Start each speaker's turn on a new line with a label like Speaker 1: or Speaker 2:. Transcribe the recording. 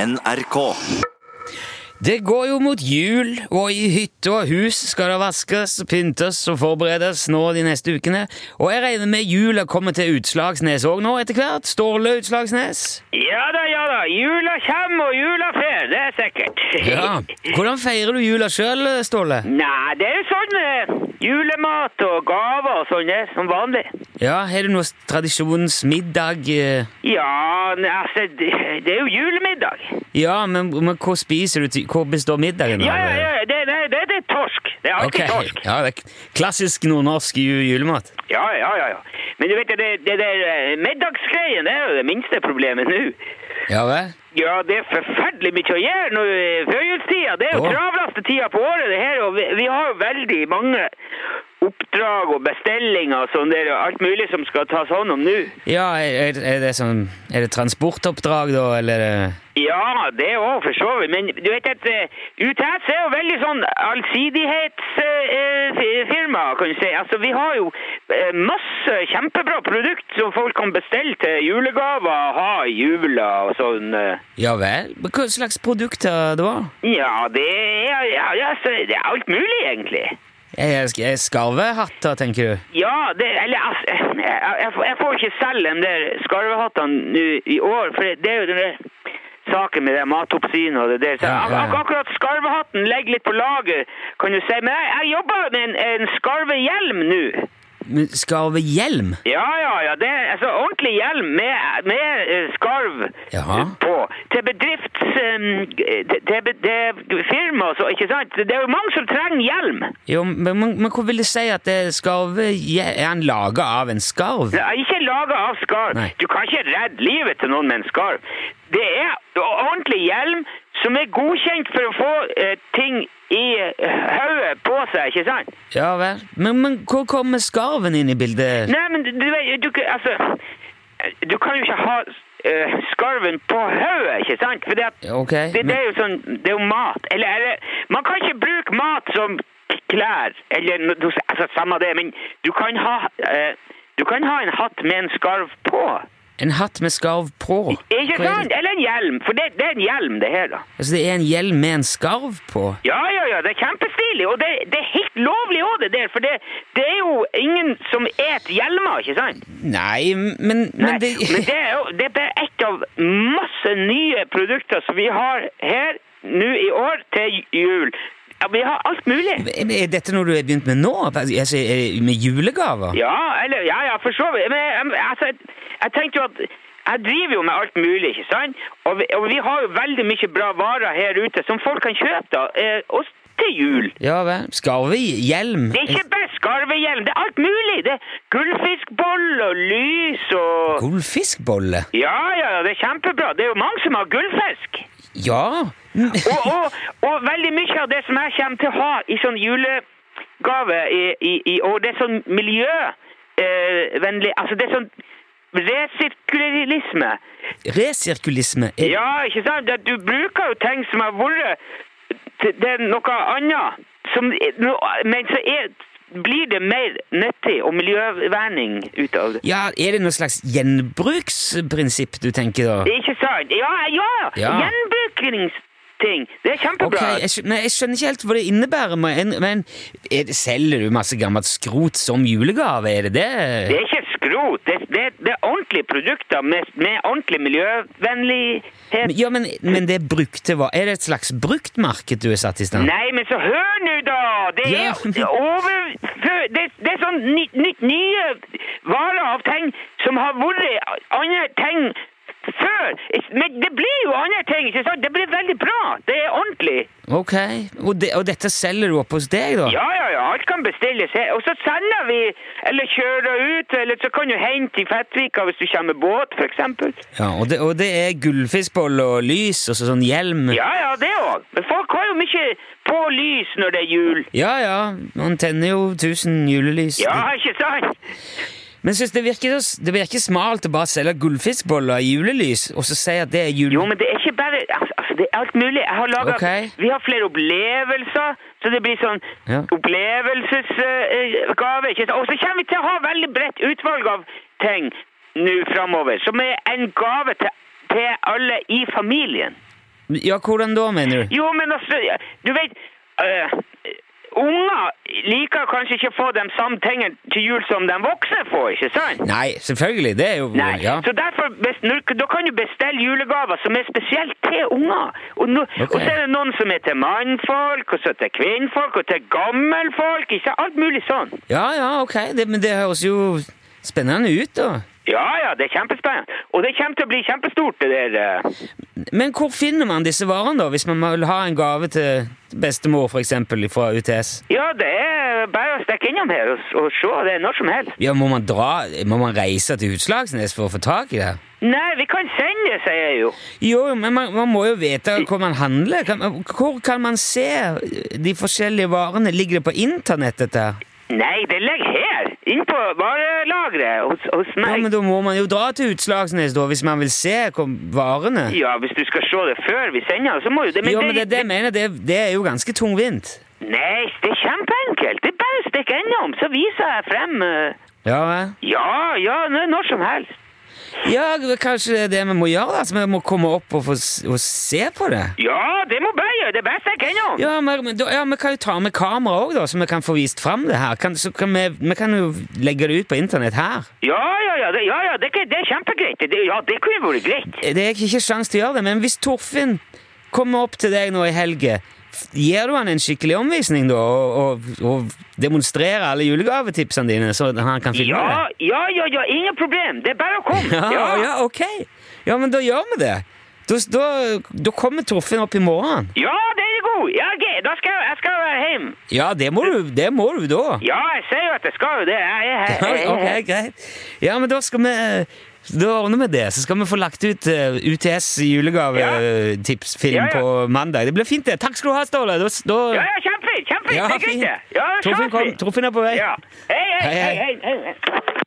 Speaker 1: NRK.
Speaker 2: Det går jo mot jul, og i hytte og hus skal det vaskes, pyntes og forberedes nå de neste ukene. Og jeg regner med jula kommer til Utslagsnes òg nå etter hvert? Ståle Utslagsnes?
Speaker 3: Ja da, ja da. Jula kommer og jula fer, det er sikkert.
Speaker 2: Ja. Hvordan feirer du jula sjøl, Ståle?
Speaker 3: Nei, det er jo sånn med julemat og gaver og sånn, det er som vanlig.
Speaker 2: Ja, Har du noe tradisjonsmiddag? eh?
Speaker 3: Ja, nei, altså, det, det er jo julemiddag.
Speaker 2: Ja, men, men hva spiser du til? Hva består middagen
Speaker 3: Ja, ja, ja, det, det, det, det er torsk. Det er
Speaker 2: Ok,
Speaker 3: alltid torsk.
Speaker 2: ja, det er Klassisk nordnorsk ju- julemat.
Speaker 3: Ja, ja, ja, ja. Men du vet, det, det der eh, middagsgreien, det er jo det minste problemet nå.
Speaker 2: Ja vel?
Speaker 3: Ja, det er forferdelig mye å gjøre nå i førjulstida. Det er jo
Speaker 2: Ja.
Speaker 3: travleste tida på året, det her. Og vi, vi har jo veldig mange oppdrag og bestillinger og sånn der, og alt mulig som skal tas hånd om nå.
Speaker 2: Ja, er, er- er det sånn Er det transportoppdrag, da, eller? er det-
Speaker 3: Ja, det òg, for så vidt. Men du vet at eh, UTS er jo veldig sånn allsidighetsfirma, kan du si. Altså, vi har jo eh, masse kjempebra produkt som folk kan bestille til julegaver, ha i jula og sånn. eh.
Speaker 2: Ja vel? Men Hva slags produkter det var?
Speaker 3: Ja, det er, ja, ja, så det er alt mulig, egentlig.
Speaker 2: Jeg, jeg skarvehatter, tenker du?
Speaker 3: Ja, det, eller altså, jeg, jeg, får- jeg får ikke selv de der skarvehattene nå i år, for det er jo den der saken med det matopsyn og det der. Så
Speaker 2: Ja, ja, ja.
Speaker 3: ak- akkurat skarvehatten ligger litt på lager, kan du si. Men jeg, jeg jobber med en, en skarvehjelm nå.
Speaker 2: Men Skarvehjelm?
Speaker 3: Ja, ja, ja. Det er altså ordentlig hjelm med, med eh, skarv
Speaker 2: Jaha.
Speaker 3: eh, på. Til bedrifts... em, til, til, be- til firma, og så, ikke sant? Det er jo mange som trenger hjelm.
Speaker 2: Jo, men, men, men hva vil det si at det er skarvehjelm? Er han laga av en skarv?
Speaker 3: Nei, ikke laget av skarv.
Speaker 2: Nei.
Speaker 3: Du kan ikke redde livet til noen med en skarv. Det er ordentlig hjelm som er godkjent for å få eh, ting i eh, hodet på seg, ikke sant?
Speaker 2: Ja vel. Men, men hvor kommer skarven inn i bildet?
Speaker 3: Nei, men du, du, vet, du, kan- altså, du kan jo ikke ha eh, skarven på hodet, ikke sant? For det,
Speaker 2: Ok,
Speaker 3: det,
Speaker 2: men-
Speaker 3: det er jo sånn, det er jo mat. Eller, eller man kan ikke bruke mat som klær, eller no- du- altså, samme det, men du kan ha... eh, du kan ha en hatt med en skarv på.
Speaker 2: En hatt med skarv på?
Speaker 3: Ikke
Speaker 2: Hva er
Speaker 3: sant?
Speaker 2: det?
Speaker 3: Eller en hjelm, for det, det er en hjelm, det her, da.
Speaker 2: Altså, det er en hjelm med en skarv på?
Speaker 3: Ja, ja, ja, det er kjempestilig, og det, det er helt lovlig òg, det der, for det, det er jo ingen som et hjelmer, ikke sant?
Speaker 2: Nei, men, men det
Speaker 3: Nei, men det er jo det er bare ett av masse nye produkter som vi har her nå i år til jul. Ja, vi har alt mulig.
Speaker 2: Er dette noe du har begynt med nå? Altså, er det med julegaver?
Speaker 3: Ja, eller, ja, ja, for så vidt. Men jeg- altså, jeg, jeg tenkte jo at jeg driver jo med alt mulig, ikke sant? Og vi, og vi har jo veldig mye bra varer her ute som folk kan kjøpe da, eh, oss til jul.
Speaker 2: Ja vel. Skarvehjelm?
Speaker 3: Det er ikke bare skarvehjelm, det er alt mulig. Det er gullfiskboll og lys og...
Speaker 2: Gullfiskbolle?
Speaker 3: Ja, ja, ja, det er kjempebra. Det er jo mange som har gullfisk.
Speaker 2: Ja.
Speaker 3: Og, og, og veldig mye av det som jeg kommer til å ha i sånn julegave i, i, i år, det er sånn miljøvennlig Altså, det er sånn resirkulisme.
Speaker 2: Resirkulisme? Er-
Speaker 3: Ja, ikke sant? At Du bruker jo ting som har vært til det er noe annet, som, no- men så er, blir det mer nyttig og miljøverning ut av det.
Speaker 2: Ja, Er det noe slags gjenbruksprinsipp du tenker da?
Speaker 3: Ikke sant? Ja, ja!
Speaker 2: Ja.
Speaker 3: Gjenbrukningsting. Det er
Speaker 2: Ok,
Speaker 3: kjempebra.
Speaker 2: jeg, skj- men jeg skjønner ikke helt hva det innebærer. Men, men er det, Selger du masse gammelt skrot som julegave? Er det
Speaker 3: Det
Speaker 2: det?
Speaker 3: er ikke skrot. Det, det, det er ordentlige produkter med, med ordentlig miljøvennlighet.
Speaker 2: Ja, men, men det er brukte hva? Er det et slags bruktmarked du er satt i stand?
Speaker 3: Nei, men så hør nå, da! Det er
Speaker 2: Ja.
Speaker 3: over... Det, det er sånn nytt, nytt nye varer av ting som har vært andre ting før. Men det blir jo andre ting, ikke sant? Det blir veldig bra. Det er ordentlig.
Speaker 2: Ok, Og, det, og dette selger du opp hos deg, da?
Speaker 3: Ja, ja, ja. Alt kan bestilles her. Og så sender vi, eller kjører ut, eller så kan du hente i Fettvika hvis du kommer med båt, for eksempel.
Speaker 2: Ja, og, det, og det er gullfiskboll og lys og så sånn hjelm?
Speaker 3: Ja, ja, det òg. Men folk har jo mye på lys når det er jul.
Speaker 2: ja, ja, man tenner jo 1000 julelys.
Speaker 3: Ja, ikke sant?
Speaker 2: Men synes det virker, så- det virker smalt å bare selge gullfiskboller i julelys og så si at det er jul...
Speaker 3: Jo, men det er ikke bare altså, altså, Det er alt mulig. Jeg har laget,
Speaker 2: Ok.
Speaker 3: Vi har flere opplevelser, så det blir sånn
Speaker 2: Ja.
Speaker 3: opplevelsesgave. ikke sant? Og så kommer vi til å ha veldig bredt utvalg av ting nå framover, som er en gave til, til alle i familien.
Speaker 2: Ja, hvordan da, mener du?
Speaker 3: Jo, men altså, du vet eh, Unger liker kanskje ikke å få de samme tingene til jul som de voksne får, ikke sant?
Speaker 2: Nei, selvfølgelig. Det er jo
Speaker 3: Nei,
Speaker 2: Ja.
Speaker 3: så derfor bes- når- Da kan du bestille julegaver som er spesielt til unger. Og, no,
Speaker 2: Ok.
Speaker 3: og så er det noen som er til mannfolk, og så til kvinnfolk, og til gammelfolk. Ikke sant? alt mulig sånn.
Speaker 2: ja, ja, ok. Det, men det høres jo spennende ut, da.
Speaker 3: Ja ja, det er kjempespennende. Og det kommer til å bli kjempestort, det der. eh.
Speaker 2: Men hvor finner man disse varene, da? Hvis man vil ha en gave til bestemor, f.eks. fra UTS?
Speaker 3: Ja, det er bare å stikke innom her og, og se. Det er når som helst.
Speaker 2: Ja, Må man dra, må man reise til Utslagsnes for å få tak i det?
Speaker 3: Nei, vi kan sende det, sier jeg jo.
Speaker 2: Jo, men man, man må jo vite hvor man handler. Kan, man- hvor kan man se de forskjellige varene? Ligger det på internett, dette? her?
Speaker 3: Nei, det ligger her. Inn på varelageret hos, hos
Speaker 2: Ja,
Speaker 3: meg.
Speaker 2: men da må man jo dra til Utslagsnes, da, hvis man vil se hvor varene
Speaker 3: Ja, hvis du skal se det før vi sender, så må jo det
Speaker 2: Jo, men det, det, jeg mener, det, det er jo ganske tungvint.
Speaker 3: Nei, det er kjempeenkelt. Det er bare å stikke innom, så viser jeg frem eh,
Speaker 2: Ja, hva?
Speaker 3: Ja, ja, nå- når som helst.
Speaker 2: ja, kanskje det er det vi må gjøre? Altså, vi må komme opp og, få, s- og se på det?
Speaker 3: Ja, det må bare gjøre. Det er bare å stikke innom.
Speaker 2: Ja, men, men da- ja, vi kan jo ta med kamera òg, da, så vi kan få vist fram det her. Kan, så kan vi, vi kan jo legge det ut på internett her.
Speaker 3: Ja, ja, ja, det, ja, ja det, kan- det er kjempegreit. Det, ja, det kunne vært greit.
Speaker 2: Det er ikke sjans til å gjøre det, men hvis Torfinn kommer opp til deg nå i helga, f- gir du han en skikkelig omvisning da, og, og, og demonstrerer alle julegavetipsene dine, så han kan filme
Speaker 3: Ja,
Speaker 2: det?
Speaker 3: ja, ja, ja, ingen problem. Det er bare å komme.
Speaker 2: Ja, ja, ok. Ja, men da gjør vi det. Da, da, da kommer Torfinn opp i morgen.
Speaker 3: Ja, det er god. Ja, ok, da skal jeg, jeg skal være hjemme.
Speaker 2: Ja, det må du, det må du da.
Speaker 3: Ja, jeg sier jo at jeg skal jo det. Jeg er her. jeg er
Speaker 2: Ok,
Speaker 3: her.
Speaker 2: greit. Ja, men da skal vi da ordner vi det, så skal vi få lagt ut eh, UTS julegavetipsfilm
Speaker 3: Ja. Ja, ja.
Speaker 2: eh, på mandag. Det blir fint, det. Takk skal du ha, Ståle. Da, da,
Speaker 3: Ja, ja, kjempefint! Kjempefint!
Speaker 2: Ja,
Speaker 3: det er greit,
Speaker 2: fint.
Speaker 3: det. Ja,
Speaker 2: Torfinn
Speaker 3: snakkes vi.
Speaker 2: kom. Torfinn er på vei.
Speaker 3: Ja. Hei, hei,
Speaker 2: Hei,
Speaker 3: hei,
Speaker 2: hei.
Speaker 3: hei, hei.